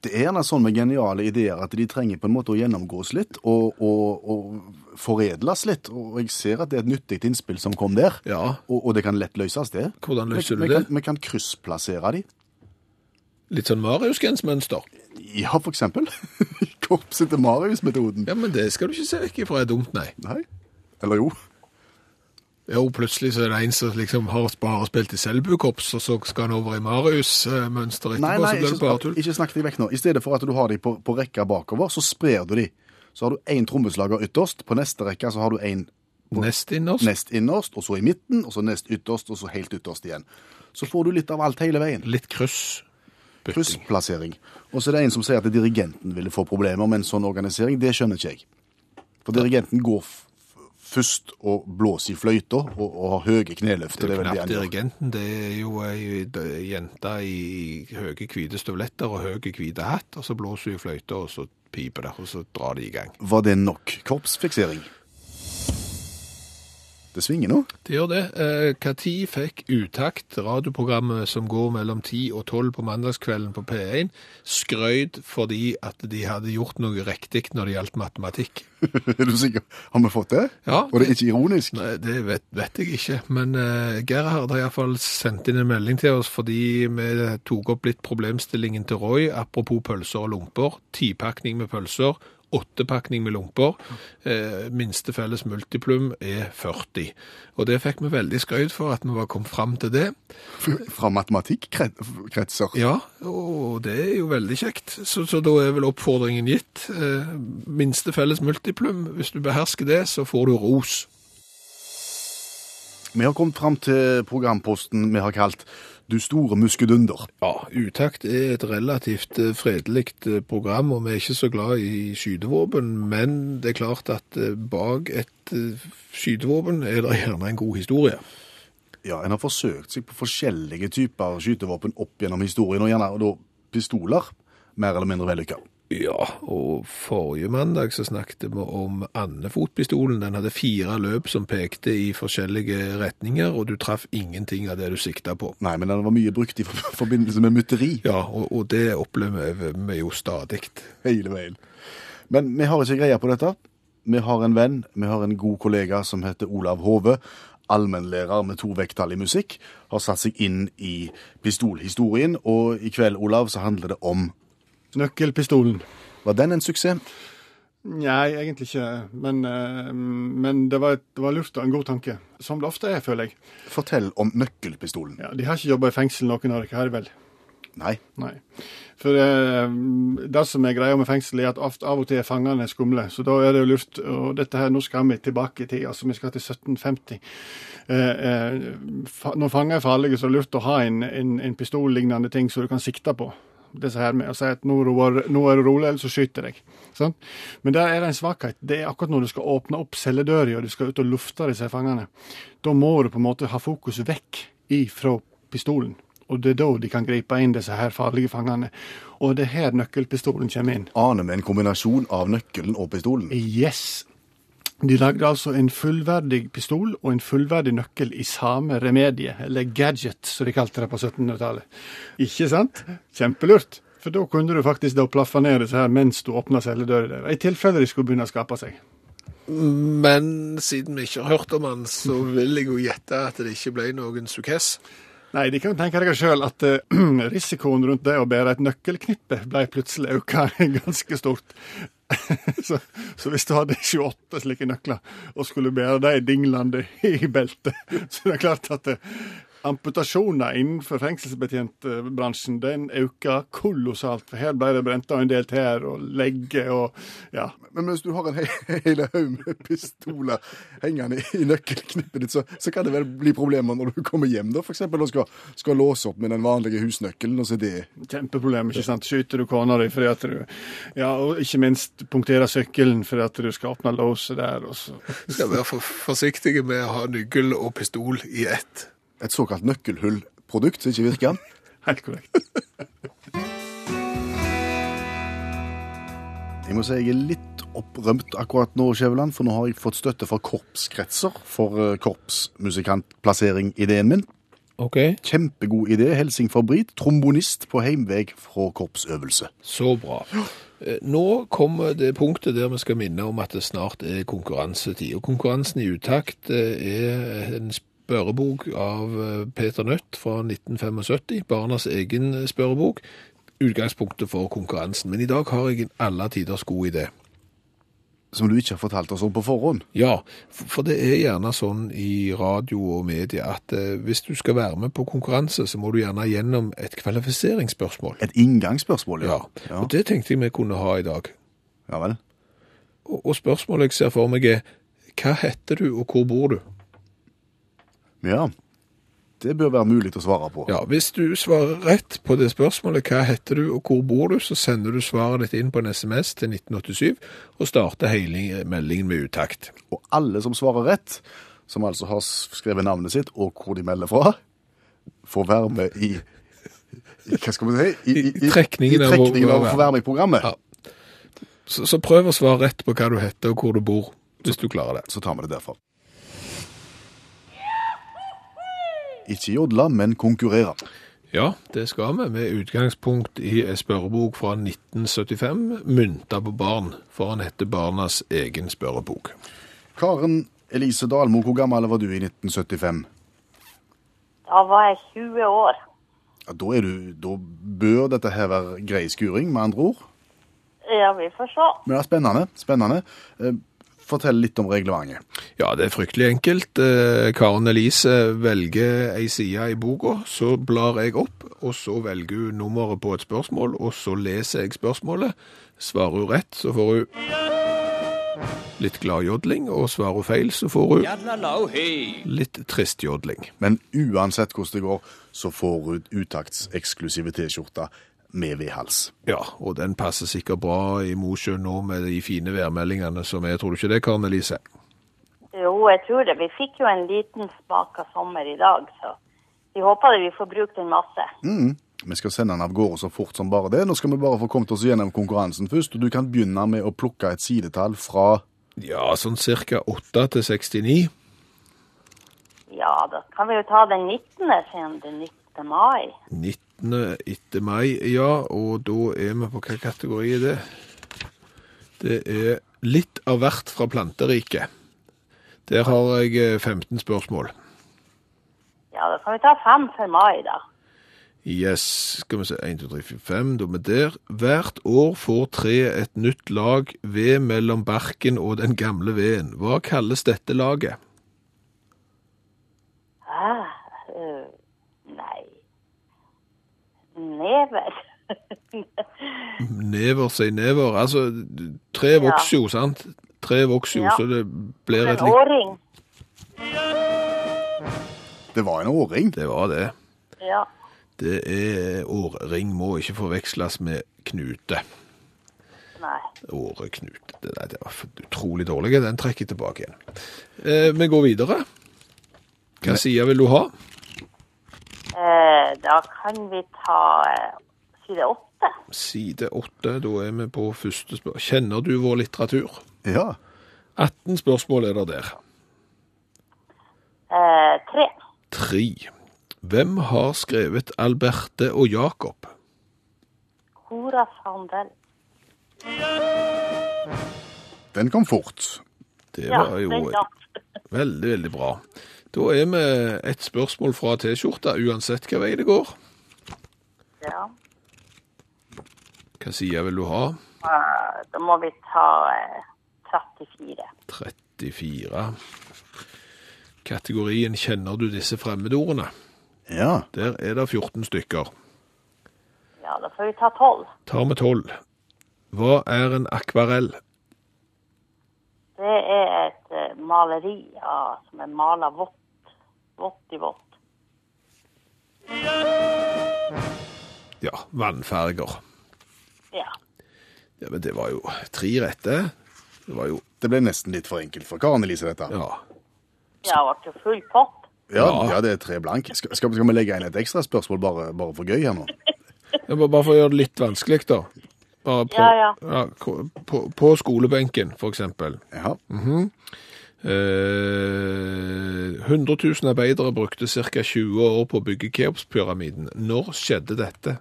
Speaker 2: Det er gjerne sånn med geniale ideer at de trenger på en måte å gjennomgås litt og, og, og foredles litt. Og jeg ser at det er et nyttig innspill som kom der.
Speaker 3: Ja.
Speaker 2: Og, og det kan lett løses, det.
Speaker 3: Hvordan løser du
Speaker 2: vi, vi
Speaker 3: det?
Speaker 2: Kan, vi kan kryssplassere de.
Speaker 3: Litt sånn Marius-mønster.
Speaker 2: Ja, for eksempel. Korpset til Marius-metoden.
Speaker 3: Ja, men det skal du ikke se vekk ifra er dumt, nei.
Speaker 2: Nei. Eller jo.
Speaker 3: Jo, plutselig så er det en som liksom har bare spilt i Selbukorps, og så skal han over i Marius-mønster etterpå,
Speaker 2: Nei, nei,
Speaker 3: så blir det
Speaker 2: ikke,
Speaker 3: bare tull.
Speaker 2: ikke snakk deg vekk nå. I stedet for at du har de på, på rekka bakover, så sprer du de. Så har du én trommeslager ytterst, på neste rekke så har du én
Speaker 3: Nest innerst.
Speaker 2: nest innerst, og så i midten, og så nest ytterst, og så helt ytterst igjen. Så får du litt av alt hele veien.
Speaker 3: Litt kryss. Bytting.
Speaker 2: Kryssplassering. Og så er det en som sier at dirigenten ville få problemer med en sånn organisering. Det skjønner ikke jeg. For dirigenten går f først og blåser i fløyta og, og har høye kneløfter.
Speaker 3: Det
Speaker 2: Det
Speaker 3: er
Speaker 2: er vel det
Speaker 3: knapt
Speaker 2: han gjør.
Speaker 3: dirigenten, det er jo ei d- jente i høye hvite støvletter og høye hvite hatt, og så blåser hun i fløyta, og så piper det, og så drar de i gang.
Speaker 2: Var det nok korpsfiksering? Det svinger nå.
Speaker 3: Det gjør det. Eh, Hva tid fikk Utakt, radioprogrammet som går mellom 10 og 12 på mandagskvelden på P1, skrøyd fordi at de hadde gjort noe riktig når det gjaldt matematikk?
Speaker 2: er du sikker? Har vi fått det?
Speaker 3: Ja.
Speaker 2: Og det er ikke ironisk?
Speaker 3: Nei, det vet, vet jeg ikke, men uh, Gerhard har iallfall sendt inn en melding til oss fordi vi tok opp litt problemstillingen til Roy apropos pølser og lomper. Tipakning med pølser, åttepakning med lomper. Eh, minste felles multiplum er 40. Og det fikk vi veldig skrøyd for at vi var kommet fram til det.
Speaker 2: F- Fra matematikkretser?
Speaker 3: Ja, og det er jo veldig kjekt. Så, så da er vel oppfordringen gitt. Eh, minste felles multiplum, hvis du behersker det, så får du ros.
Speaker 2: Vi har kommet fram til programposten vi har kalt Du store muskedunder.
Speaker 3: Ja, Utakt er et relativt eh, fredelig eh, program, og vi er ikke så glad i skytevåpen. Men det er klart at eh, bak et eh, skytevåpen er det gjerne en god historie.
Speaker 2: Ja, En har forsøkt seg på forskjellige typer skytevåpen opp gjennom historien, og gjerne da pistoler. Mer eller mindre vellykka.
Speaker 3: Ja, og forrige mandag så snakket vi om andefotpistolen. Den hadde fire løp som pekte i forskjellige retninger, og du traff ingenting av det du sikta på.
Speaker 2: Nei, men den var mye brukt i for- forbindelse med mytteri
Speaker 3: Ja, og, og det opplever vi jo stadig.
Speaker 2: hele veien. Men vi har ikke greie på dette. Vi har en venn, vi har en god kollega som heter Olav Hove. Allmennlærer med to vekttall i musikk. Har satt seg inn i pistolhistorien, og i kveld, Olav, så handler det om
Speaker 5: Nøkkelpistolen.
Speaker 2: Var den en suksess?
Speaker 5: Nei, egentlig ikke. Men, eh, men det, var et, det var lurt og en god tanke. Som det ofte er, føler jeg.
Speaker 2: Fortell om nøkkelpistolen.
Speaker 5: Ja, de har ikke jobba i fengsel, noen av dere har det vel?
Speaker 2: Nei.
Speaker 5: Nei. For eh, det som er greia med fengsel, er at av, av og til er fangene skumle. Så da er det jo lurt. Og dette her, nå skal vi tilbake i tid. Altså, vi skal til 1750. Eh, eh, fa, når fanger er farlige, så er det lurt å ha en, en, en pistollignende ting som du kan sikte på. Disse her med å si at nå, Roar, nå er du rolig, eller så skyter jeg. Sant? Men der er det en svakhet. Det er akkurat når du skal åpne opp celledøra og du skal ut og lufte disse fangene. Da må du på en måte ha fokus vekk ifra pistolen. Og det er da de kan gripe inn disse her farlige fangene. Og det er her nøkkelpistolen kommer inn.
Speaker 2: Aner vi en kombinasjon av nøkkelen og pistolen?
Speaker 5: Yes. De lagde altså en fullverdig pistol og en fullverdig nøkkel i samme remedie, eller gadget, som de kalte det på 1700-tallet. Ikke sant? Kjempelurt. For da kunne du faktisk da plaffe ned disse her mens du åpna celledøra der, i tilfelle de skulle begynne å skape seg.
Speaker 3: Men siden vi ikke har hørt om han, så vil jeg jo gjette at det ikke ble noen sukess.
Speaker 5: Nei, de kan jo tenke deg sjøl at eh, risikoen rundt det å bære et nøkkelknippe ble plutselig økt ganske stort. så, så hvis du hadde 28 slike nøkler og skulle bære de dinglende i beltet, så det er klart at eh, amputasjoner innenfor fengselsbetjentbransjen den øker kolossalt. For her ble det brent av en del tær og legger og ja.
Speaker 2: Men mens du har en he hele haug med pistoler hengende i nøkkelknippet ditt, så, så kan det vel bli problemer når du kommer hjem, da? F.eks. når du skal, skal låse opp med den vanlige husnøkkelen, og så er det
Speaker 5: Kjempeproblem, ikke sant. Skyter du kona di fordi at du Ja, og ikke minst punkterer sykkelen fordi at du skal åpne låset der, og så
Speaker 3: Vi skal være for, forsiktige med å ha nøkkel og pistol i ett.
Speaker 2: et såkalt nøkkelhullprodukt som ikke virker.
Speaker 5: Helt korrekt.
Speaker 2: Jeg må si jeg er litt opprømt akkurat nå, Skjæveland, for nå har jeg fått støtte fra korpskretser for eh, korpsmusikantplassering-ideen min.
Speaker 3: OK.
Speaker 2: Kjempegod idé. Helsing fra Brit, trombonist på heimvei fra korpsøvelse.
Speaker 3: Så bra. Eh, Nå kommer det punktet der vi skal minne om at det snart er konkurransetid. Og konkurransen i utakt eh, er en spørrebok av eh, Peter Nødt fra 1975. Barnas egen spørrebok. Utgangspunktet for konkurransen. Men i dag har jeg en alle tiders god idé.
Speaker 2: Som du ikke har fortalt oss om på forhånd.
Speaker 3: Ja, f- for det er gjerne sånn i radio og media at eh, hvis du skal være med på konkurranse, så må du gjerne gjennom et kvalifiseringsspørsmål.
Speaker 2: Et inngangsspørsmål,
Speaker 3: Ja,
Speaker 2: Ja,
Speaker 3: og det tenkte jeg vi kunne ha i dag.
Speaker 2: ja vel.
Speaker 3: Og, og spørsmålet jeg ser for meg er, hva heter du og hvor bor du?
Speaker 2: Ja. Det bør være mulig å svare på.
Speaker 3: Ja, hvis du svarer rett på det spørsmålet, hva heter du og hvor bor du, så sender du svaret ditt inn på en sms til 1987 og starter hele meldingen med uttakt.
Speaker 2: Og alle som svarer rett, som altså har skrevet navnet sitt og hvor de melder fra, får være med i, i Hva skal vi si?
Speaker 3: I-
Speaker 2: i
Speaker 3: trekningen av å-
Speaker 2: trekningen av å
Speaker 3: være-
Speaker 2: få være med i programmet.
Speaker 3: Ja. Så, så prøv å svare rett på hva du heter og hvor du bor, hvis du klarer det.
Speaker 2: Så tar vi det derfra. Ikke jodle, men konkurrere.
Speaker 3: Ja, det skal vi, med utgangspunkt i en spørrebok fra 1975, mynta på barn, for han heter Barnas egen spørrebok.
Speaker 2: Karen Elise Dalmo, hvor gammel var du i 1975?
Speaker 6: Da var jeg 20 år.
Speaker 2: Ja, da, er du, da bør dette her være grei skuring, med andre ord.
Speaker 6: Ja, vi får se.
Speaker 2: Men det er spennende. spennende. Eh, Fortell litt om reglementet.
Speaker 3: Ja, det er fryktelig enkelt. Eh, Karen Elise velger ei side i boka, så blar jeg opp, og så velger hun nummeret på et spørsmål, og så leser jeg spørsmålet. Svarer hun rett, så får hun litt glad jodling, og svarer hun feil, så får hun litt trist jodling.
Speaker 2: Men uansett hvordan det går, så får du utakts eksklusive T-skjorte med V-hals.
Speaker 3: Ja, og den passer sikkert bra i Mosjøen nå med de fine værmeldingene som er. Tror du ikke det, Karen Elise?
Speaker 6: Jo, jeg tror det. Vi fikk jo en liten smak av sommer i dag, så vi håper det vi får brukt den masse.
Speaker 2: Mm. Vi skal sende den av gårde så fort som bare det. Nå skal vi bare få kommet oss gjennom konkurransen først. og Du kan begynne med å plukke et sidetall fra
Speaker 3: Ja, sånn cirka 8 til 69.
Speaker 6: Ja, da kan vi jo ta den 19. siden den 19. mai.
Speaker 3: 19. etter mai, ja, og da er vi på hva kategori er det? Det er litt av hvert fra planteriket. Der har jeg eh, 15 spørsmål.
Speaker 6: Ja, da kan vi ta fem for mai, da.
Speaker 3: Yes, skal vi se, 1, 2, 3, 4, 5, da er vi der. Hvert år får treet et nytt lag ved mellom barken og den gamle veden. Hva kalles dette laget?
Speaker 6: Ah, øh, nei. Never.
Speaker 3: Never say never. Altså, treet vokser jo, sant? Treet vokser jo,
Speaker 6: Ja.
Speaker 3: så det blir et
Speaker 6: en
Speaker 3: likt
Speaker 6: åring.
Speaker 2: Det var en årring.
Speaker 3: Det var det.
Speaker 6: Ja.
Speaker 3: Det er årring, må ikke forveksles med knute.
Speaker 6: Nei.
Speaker 3: Åreknute. Det, nei, det var for- utrolig dårlig. Den trekker jeg tilbake igjen. Eh, vi går videre. Hva side vil du ha?
Speaker 6: Eh, da kan vi ta eh, side åtte.
Speaker 3: Side åtte. Da er vi på første spørsmål. Kjenner du vår litteratur?
Speaker 2: Ja.
Speaker 3: 18 spørsmål er det der.
Speaker 6: Eh, tre.
Speaker 3: 3. Hvem har skrevet Alberte og Jakob?
Speaker 6: Cora Sandel.
Speaker 2: Den kom fort.
Speaker 3: Det
Speaker 6: Ja,
Speaker 3: var jo
Speaker 6: den
Speaker 3: et-
Speaker 6: datt.
Speaker 3: veldig, veldig bra. Da er vi et spørsmål fra T-skjorta, uansett hva vei det går.
Speaker 6: Ja.
Speaker 3: Hva side vil du ha?
Speaker 6: Eh, Da må vi ta eh, 34.
Speaker 3: 34. Kategorien kjenner du disse fremmedordene?
Speaker 2: Ja.
Speaker 3: Der er det 14 stykker.
Speaker 6: Ja, da får vi ta tolv.
Speaker 3: Tar vi 12. Hva er en akvarell?
Speaker 6: Det er et eh, maleri av, som er mala vått. Vått i vått.
Speaker 3: Ja, vannfarger.
Speaker 6: Ja.
Speaker 3: Ja, men det var jo tre rette. Det var jo
Speaker 2: Det ble nesten litt for enkelt for Karen Elise, dette.
Speaker 3: Ja.
Speaker 6: Ja, det ble jo full pott.
Speaker 2: Ja,
Speaker 3: Ja.
Speaker 2: ja, det er tre blank. Skal, skal, skal vi legge inn et ekstra spørsmål bare, bare for gøy her nå?
Speaker 3: Jeg må bare for å gjøre det litt vanskelig, da. Bare på,
Speaker 6: Ja, ja.
Speaker 3: ko- på, på skolebenken, for eksempel.
Speaker 2: Ja.
Speaker 3: Eh, 100 000 arbeidere brukte ca. 20 år på å bygge Keopspyramiden. Når skjedde dette?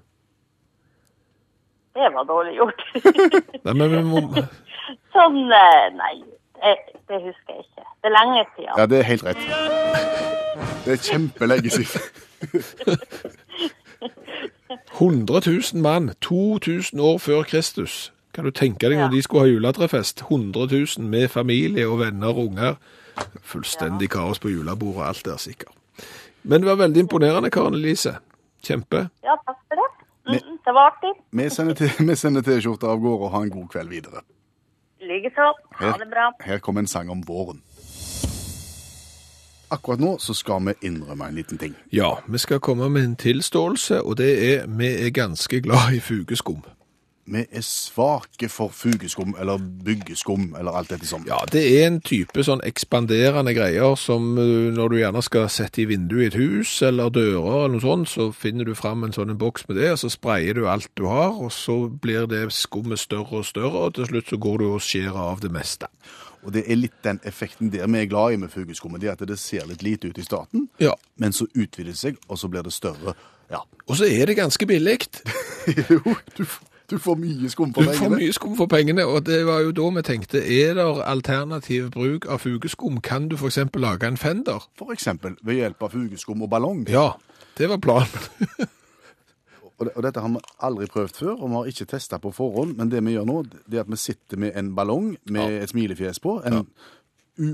Speaker 6: Det var dårlig gjort.
Speaker 3: Nei, men vi må...
Speaker 6: sånn eh, Nei, det, det husker jeg ikke. Det er lenge siden.
Speaker 2: ja, det er helt rett. Det er kjempelenge siden.
Speaker 3: 100 000 mann, 2000 år før Kristus. Kan du tenke deg når
Speaker 6: Ja.
Speaker 3: de skulle ha juletrefest? 100 000 med familie og venner og unger. Fullstendig kaos på julebordet, alt der sikkert. Men det var veldig imponerende, Karen Elise. Kjempe.
Speaker 6: Ja, takk for det. Mm, mm, det var artig.
Speaker 2: Vi sender til- vi sender T-skjorta av gårde og ha en god kveld videre.
Speaker 6: Likeså. Ha det bra.
Speaker 2: Her kommer en sang om våren. Akkurat nå så skal vi innrømme en liten ting.
Speaker 3: Ja, vi skal komme med en tilståelse, og det er vi er ganske glad i fugeskum.
Speaker 2: Vi er svake for fugeskum eller byggeskum eller alt dette som.
Speaker 3: Ja, det er en type sånn ekspanderende greier som eh, når du gjerne skal sette i vinduet i et hus eller dører eller noe sånt, så finner du fram en sånn en boks med det, og så sprayer du alt du har, og så blir det skummet større og større, og til slutt så går du og skjærer av det meste.
Speaker 2: Og det er litt den effekten der vi er glad i med fugeskummet. Det er at det ser litt lite ut i starten,
Speaker 3: Ja,
Speaker 2: men så utvider det seg, og så blir det større. Ja.
Speaker 3: og så er det ganske billig.
Speaker 2: Jo, du, f- du får mye skum
Speaker 3: Du
Speaker 2: for
Speaker 3: får
Speaker 2: pengene.
Speaker 3: mye skum for pengene, og det var jo da vi tenkte, er det alternativ bruk av fugeskum? Kan du for eksempel lage en fender?
Speaker 2: For eksempel ved hjelp av fugeskum og ballong.
Speaker 3: Ja, det var planen.
Speaker 2: Og, det, og dette har vi aldri prøvd før, og vi har ikke testa på forhånd. Men det vi gjør nå, det er at vi sitter med en ballong med et smilefjes på, en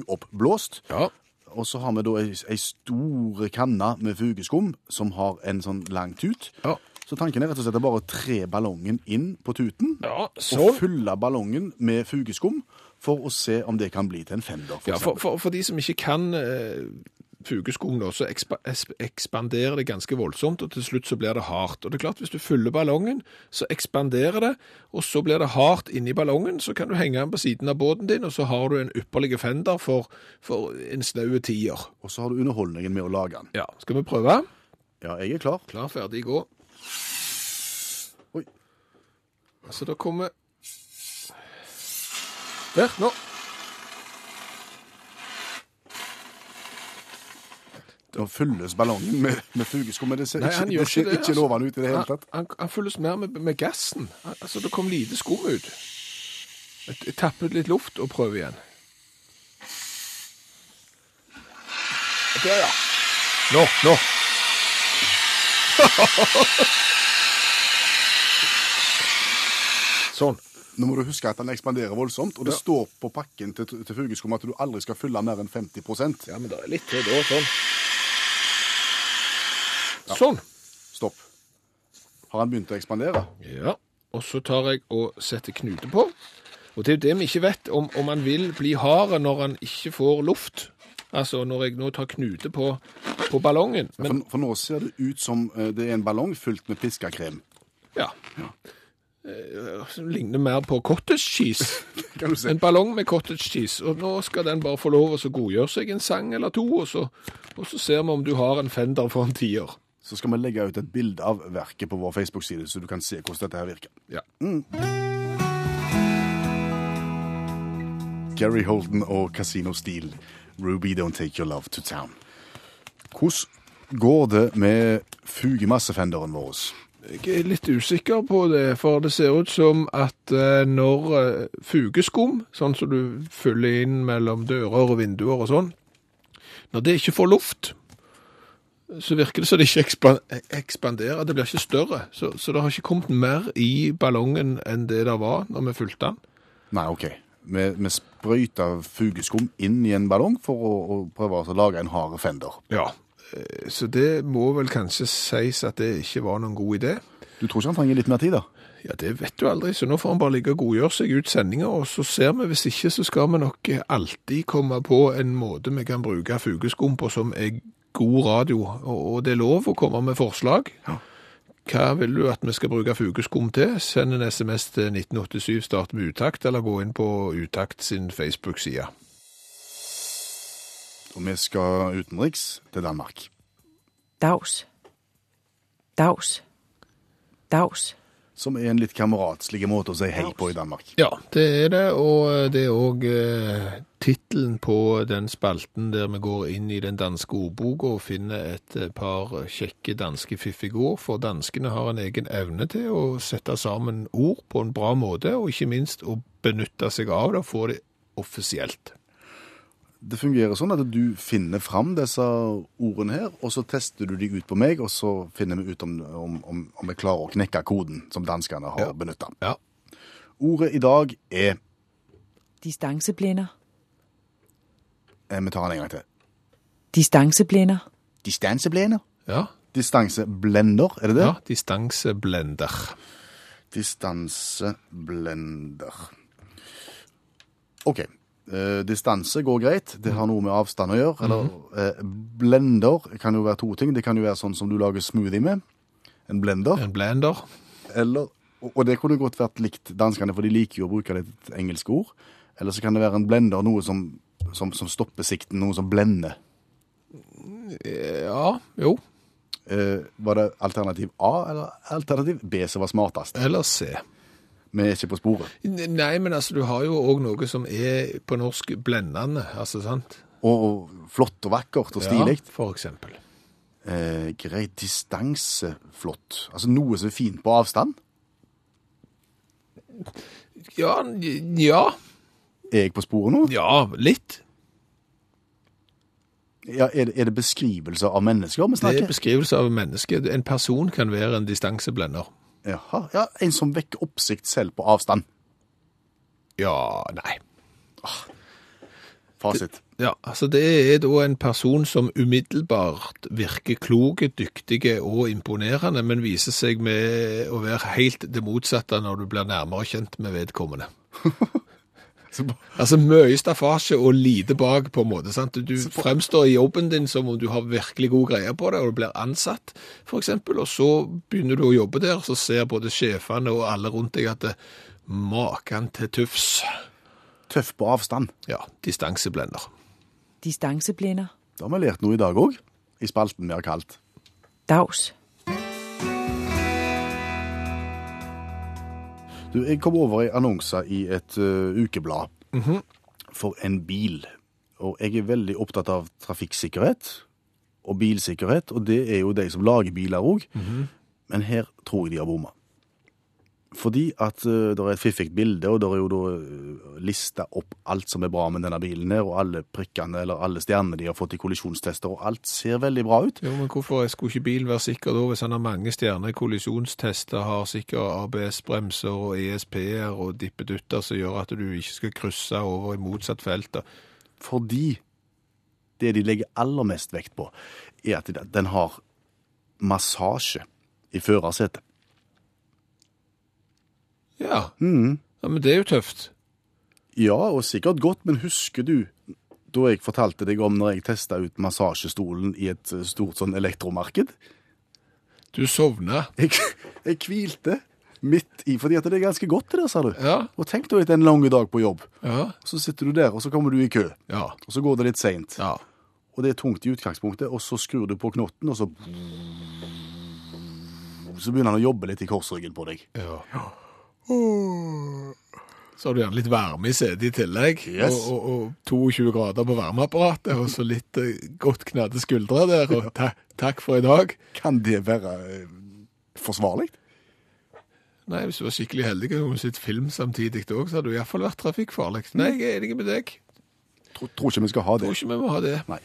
Speaker 2: uoppblåst.
Speaker 3: Ja.
Speaker 2: Og så har vi da ei, ei stor kanne med fugeskum som har en sånn lang tut.
Speaker 3: Ja.
Speaker 2: Så tanken er rett og slett å bare tre ballongen inn på tuten.
Speaker 3: Ja,
Speaker 2: Og fylle ballongen med fugeskum for å se om det kan bli til en fender. For
Speaker 3: Ja, for,
Speaker 2: eksempel.
Speaker 3: for, for de som ikke kan eh, fugeskum, da, så ekspa, es- ekspanderer det ganske voldsomt, og til slutt så blir det hardt. Og det er klart, hvis du fyller ballongen, så ekspanderer det, og så blir det hardt inni ballongen, så kan du henge den på siden av båten din, og så har du en ypperlig fender for, for en snaue tier.
Speaker 2: Og så har du underholdningen med å lage den.
Speaker 3: Ja, skal vi prøve?
Speaker 2: Ja, jeg er klar.
Speaker 3: Klar, ferdig, gå.
Speaker 2: Oi.
Speaker 3: Altså, da kommer Der, nå.
Speaker 2: Nå fylles ballongen med, med fugeskum. Men det ser
Speaker 3: Nei,
Speaker 2: ikke,
Speaker 3: han gjør
Speaker 2: det ser
Speaker 3: ikke det,
Speaker 2: ikke
Speaker 3: altså.
Speaker 2: lovende ut i det hele
Speaker 3: Han,
Speaker 2: tatt.
Speaker 3: han, han fylles mer med, med gassen. Al- Altså, det kom lite skum ut. Jeg t- Tapp ut litt luft og prøv igjen. Der, ja. Nå, nå. sånn.
Speaker 2: Nå må du huske at den ekspanderer voldsomt, og det står på pakken til, til fugeskum at du aldri skal fylle mer enn 50
Speaker 3: Ja, men det er litt til da, sånn. Sånn.
Speaker 2: Stopp. Har han begynt å ekspandere?
Speaker 3: Ja, og så tar jeg og setter knute på. Og det er jo det vi ikke vet, om, om han vil bli hard når han ikke får luft. Altså når jeg nå tar knute på, på ballongen. Men,
Speaker 2: For, for nå ser det ut som eh, det er en ballong fylt med piskakrem.
Speaker 3: ja. Eh, som ligner mer på cottage cheese.
Speaker 2: Kan du se?
Speaker 3: En ballong med cottage cheese. Og nå skal den bare få lov å så godgjøre seg en sang eller to, og så, og så ser vi om du har en fender for en tier.
Speaker 2: Så skal vi legge ut et bilde av verket på vår Facebook-side, så du kan se hvordan dette her virker.
Speaker 3: Ja.
Speaker 2: Gary Holden og Casino Steel, Ruby Don't Take Your Love to Town. Hvordan går det med fugemassefenderen vår?
Speaker 3: Jeg er litt usikker på det, for det ser ut som at eh, når eh, fugeskum, sånn som du fyller inn mellom dører og vinduer og sånn, når det ikke får luft, så virker det som det ikke ekspan- ekspanderer, det blir ikke større. Så, så det har ikke kommet mer i ballongen enn det det var når vi fylte den.
Speaker 2: Nei, OK. Vi, vi sprøyter fugeskum inn i en ballong for å, å prøve å lage en hard fender.
Speaker 3: Ja. Eh, Så det må vel kanskje sies at det ikke var noen god idé.
Speaker 2: Du tror ikke han trenger litt mer tid, da?
Speaker 3: Ja, det vet du aldri, så nå får han bare ligge og godgjøre seg ut sendinga, og så ser vi. Hvis ikke, så skal vi nok alltid komme på en måte vi kan bruke fugleskum på som er god radio. Og og det er lov å komme med forslag. Hva vil du at vi skal bruke fugleskum til? Send en SMS til 1987, start med Utakt, eller gå inn på Utakt sin Facebook-side.
Speaker 2: Og vi skal utenriks til Danmark.
Speaker 7: Dags. Dags. Dags.
Speaker 2: Som er en litt kameratslig måte å si hei på i Danmark.
Speaker 3: Ja, det er det, og det er òg eh, tittelen på den spalten der vi går inn i den danske ordboka og finner et eh, par kjekke danske fiffige ord, for danskene har en egen evne til å sette sammen ord på en bra måte, og ikke minst å benytte seg av det og få det offisielt.
Speaker 2: Det fungerer sånn at du finner fram disse ordene her, og så tester du de ut på meg, og så finner vi ut om, om, om, om vi klarer å knekke koden som danskene har
Speaker 3: Ja.
Speaker 2: benytta.
Speaker 3: Ja.
Speaker 2: Ordet i dag er
Speaker 7: Distanceblænder.
Speaker 2: eh, Vi tar den en gang til.
Speaker 7: Distanceblænder.
Speaker 2: Distanseblender.
Speaker 3: Ja,
Speaker 2: Distanseblender, er det det?
Speaker 3: ja distanseblender.
Speaker 2: Distanseblender. OK. Eh, distanse går greit. Det har noe med avstand å gjøre. Eller eh, blender kan jo være to ting. Det kan jo være sånn som du lager smoothie med. En blender.
Speaker 3: En blender.
Speaker 2: Eller, og og det kunne godt vært likt danskene, for de liker jo å bruke litt engelske ord. Eller så kan det være en blender, noe som, som, som stopper sikten, noe som blender.
Speaker 3: Ja, jo.
Speaker 2: Eh, var det alternativ A eller alternativ B som var smartest?
Speaker 3: Eller se.
Speaker 2: Vi er ikke på sporet.
Speaker 3: Nei, men altså, du har jo òg noe som er på norsk blendende, altså sant?
Speaker 2: Og, og flott og vakkert og stilig.
Speaker 3: Ja, for eksempel.
Speaker 2: Eh, greit distanse, flott. Altså noe som er fint på avstand.
Speaker 3: Ja, ja,
Speaker 2: Er jeg på sporet nå?
Speaker 3: ja, litt.
Speaker 2: Ja, er, det- er det beskrivelser av mennesker vi
Speaker 3: Det er
Speaker 2: snakker?
Speaker 3: beskrivelse av mennesket. En person kan være en distanseblender.
Speaker 2: Jaha, ja, En som vekker oppsikt selv på avstand.
Speaker 3: Ja, nei.
Speaker 2: Fasit.
Speaker 3: Ja, altså det er da en person som umiddelbart virker kloke, dyktige og imponerende, men viser seg med å være helt det motsatte når du blir nærmere kjent med vedkommende. Altså mye staffasje og lite bak på en måte, sant? Du fremstår i jobben din som om du har virkelig god greie på det, og du blir ansatt, for eksempel, og så begynner du å jobbe der, så ser både sjefene og alle rundt deg at det maken til tufs.
Speaker 2: Tøff på avstand.
Speaker 3: Ja, distanseblender.
Speaker 7: Distanceblænder.
Speaker 2: Da har vi lært noe i dag òg, i spalten vi har kalt
Speaker 7: Dags.
Speaker 2: Du, Jeg kom over ei annonse i et eh, ukeblad for en bil. Og jeg er veldig opptatt av trafikksikkerhet og bilsikkerhet, og det er jo de som lager biler òg. Men her tror jeg de har bomma. Fordi at eh, det er et fiffig bilde, og det er jo da eh, lista opp alt som er bra med denne bilen her, og alle prikkene eller alle stjernene de har fått i kollisjonstester, og alt ser veldig bra ut.
Speaker 3: Jo, men hvorfor skulle ikke bilen være sikker da, hvis han har mange stjerner, kollisjonstester, har sikker ABS-bremser og ESP-er og dippedutter som gjør at du ikke skal krysse over i motsatt felt? da?
Speaker 2: Fordi det de legger aller mest vekt på, er at den har massasje i førersetet.
Speaker 3: Ja. ja, men det er jo tøft.
Speaker 2: Ja, og sikkert godt, men husker du da jeg fortalte deg om når jeg testa ut massasjestolen i et eh, stort sånn elektromarked?
Speaker 3: Du sovner.
Speaker 2: Jeg, jeg hvilte midt i, fordi at det er ganske godt det der, sa du.
Speaker 3: Ja.
Speaker 2: Og tenk da etter en lang dag på jobb,
Speaker 3: Ja.
Speaker 2: så sitter du der, og så kommer du i kø.
Speaker 3: Ja.
Speaker 2: Og så går det litt seint,
Speaker 3: ja.
Speaker 2: og det er tungt i utgangspunktet, og så skrur du på knotten, og så Så begynner han å jobbe litt i korsryggen på deg.
Speaker 3: Så har du gjerne litt varme i setet i tillegg,
Speaker 2: Yes.
Speaker 3: og, og, og 22 grader på varmeapparatet, og så litt eh, godt knadde skuldre der, og ta, takk for i dag.
Speaker 2: Kan det være eh, forsvarlig?
Speaker 3: Nei, hvis du var skikkelig heldig og kunne sett film samtidig òg, så hadde du iallfall vært trafikkfarlig. Nei, jeg er enig med deg.
Speaker 2: Tror, tror ikke vi skal ha det.
Speaker 3: Tror ikke vi må ha det.
Speaker 2: Nei.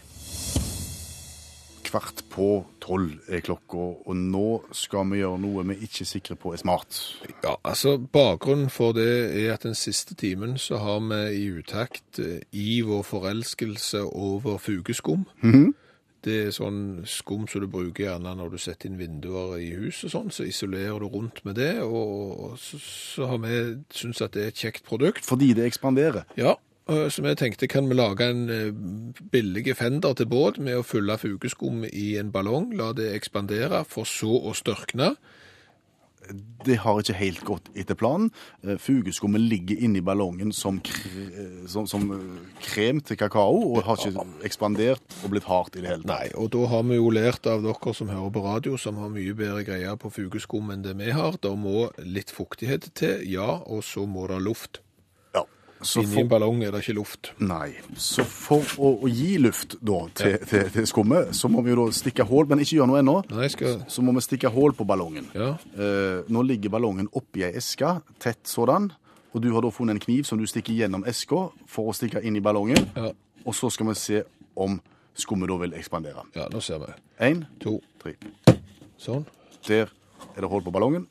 Speaker 2: Kvart på tolv er klokka, og nå skal vi gjøre noe vi ikke er sikre på er smart.
Speaker 3: Ja, altså Bakgrunnen for det er at den siste timen så har vi i utakt eh, i vår forelskelse over fugeskum. Det er sånn skum som du bruker gjerne når du setter inn vinduer i hus og sånn, så isolerer du rundt med det, og så, så har vi syntes at det er et kjekt produkt.
Speaker 2: Fordi det ekspanderer.
Speaker 3: Ja, øh, så vi tenkte kan vi lage en øh, billig fender til båt med å fylle fugeskum i en ballong, la det ekspandere, for så å størkne.
Speaker 2: Det har ikke helt gått etter planen. Eh, Fugeskummet ligger inni ballongen som, kre- eh, som, som eh, krem til kakao, og har ikke ekspandert og blitt hardt i det hele tatt.
Speaker 3: Nei, og da har vi jo lært av dere som hører på radio, som har mye bedre greier på fugeskum enn det vi har. Da må litt fuktighet til, ja, og så må det luft.
Speaker 2: Ja. Så
Speaker 3: Inni
Speaker 2: for,
Speaker 3: en ballong er det ikke luft.
Speaker 2: nei. Så for å, å gi luft da, til, til, til skummet, så må vi jo da stikke hull, men ikke gjøre noe ennå.
Speaker 3: Nei, jeg skal...
Speaker 2: Så må vi stikke hull på ballongen.
Speaker 3: Ja,
Speaker 2: Eh, nå ligger ballongen oppi ei eske, tett sådan, og du har da funnet en kniv som du stikker gjennom eska for å stikke inn i ballongen,
Speaker 3: Ja.
Speaker 2: og så skal vi se om skummet da vil ekspandere.
Speaker 3: ja, nå ser vi.
Speaker 2: Én,
Speaker 3: To,
Speaker 2: tre.
Speaker 3: sånn.
Speaker 2: Der er det hull på ballongen.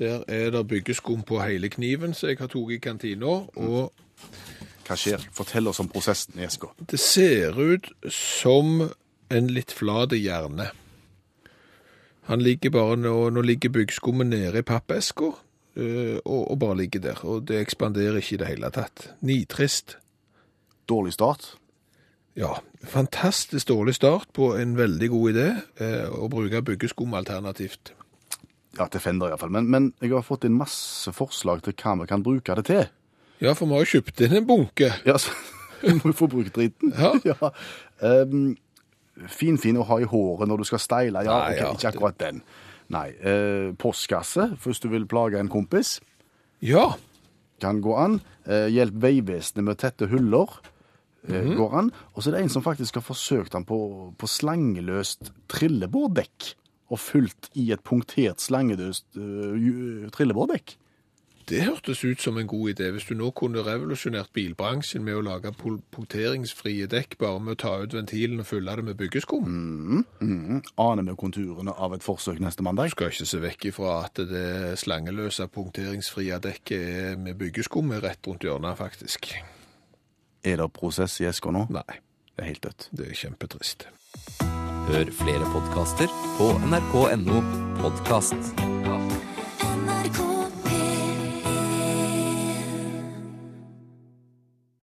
Speaker 3: Der er det byggeskum på hele kniven som jeg har tatt i kantina, og
Speaker 2: Hva skjer? Fortell oss om prosessen i eska.
Speaker 3: det ser ut som en litt flate hjerne. Han ligger bare nå, nå ligger byggeskummet nede i pappeska, eh, og, og bare ligger der. Og det ekspanderer ikke i det hele tatt. Nitrist.
Speaker 2: Dårlig start.
Speaker 3: Ja, fantastisk dårlig start på en veldig god idé, eh, å bruke byggeskum alternativt.
Speaker 2: Ja, til Fender iallfall. Men, men jeg har fått inn masse forslag til hva vi kan bruke det til.
Speaker 3: Ja, for vi har jo kjøpt inn en bunke.
Speaker 2: Ja, så du må jo få bruke driten.
Speaker 3: Ja.
Speaker 2: Ehm, fin, fin å ha i håret når du skal steile. Ja,
Speaker 3: Nei,
Speaker 2: ok,
Speaker 3: ja.
Speaker 2: ikke akkurat den. Nei. Uh, postkasse, hvis du vil plage en kompis.
Speaker 3: Ja,
Speaker 2: Kan gå an. Eh, hjelp Vegvesenet med å tette huller. eh,
Speaker 3: Mhm.
Speaker 2: Går an. Og så er det en som faktisk har forsøkt den på, på slangeløst trillebårdekk. Og fylt i et punktert slangeløst eh, ju- trillebårdekk.
Speaker 3: Det hørtes ut som en god idé. Hvis du nå kunne revolusjonert bilbransjen med å lage pol- punkteringsfrie dekk bare med å ta ut ventilen og fylle det med byggeskum,
Speaker 2: Aner vi konturene av et forsøk neste mandag?
Speaker 3: du skal ikke se vekk ifra at det slangeløse punkteringsfrie dekket er med byggeskum er rett rundt hjørnet, faktisk.
Speaker 2: Er det prosess i eska nå?
Speaker 3: Nei,
Speaker 2: Det er helt dødt.
Speaker 3: det er kjempetrist.
Speaker 8: Hør flere podkaster på nrk.no podkast.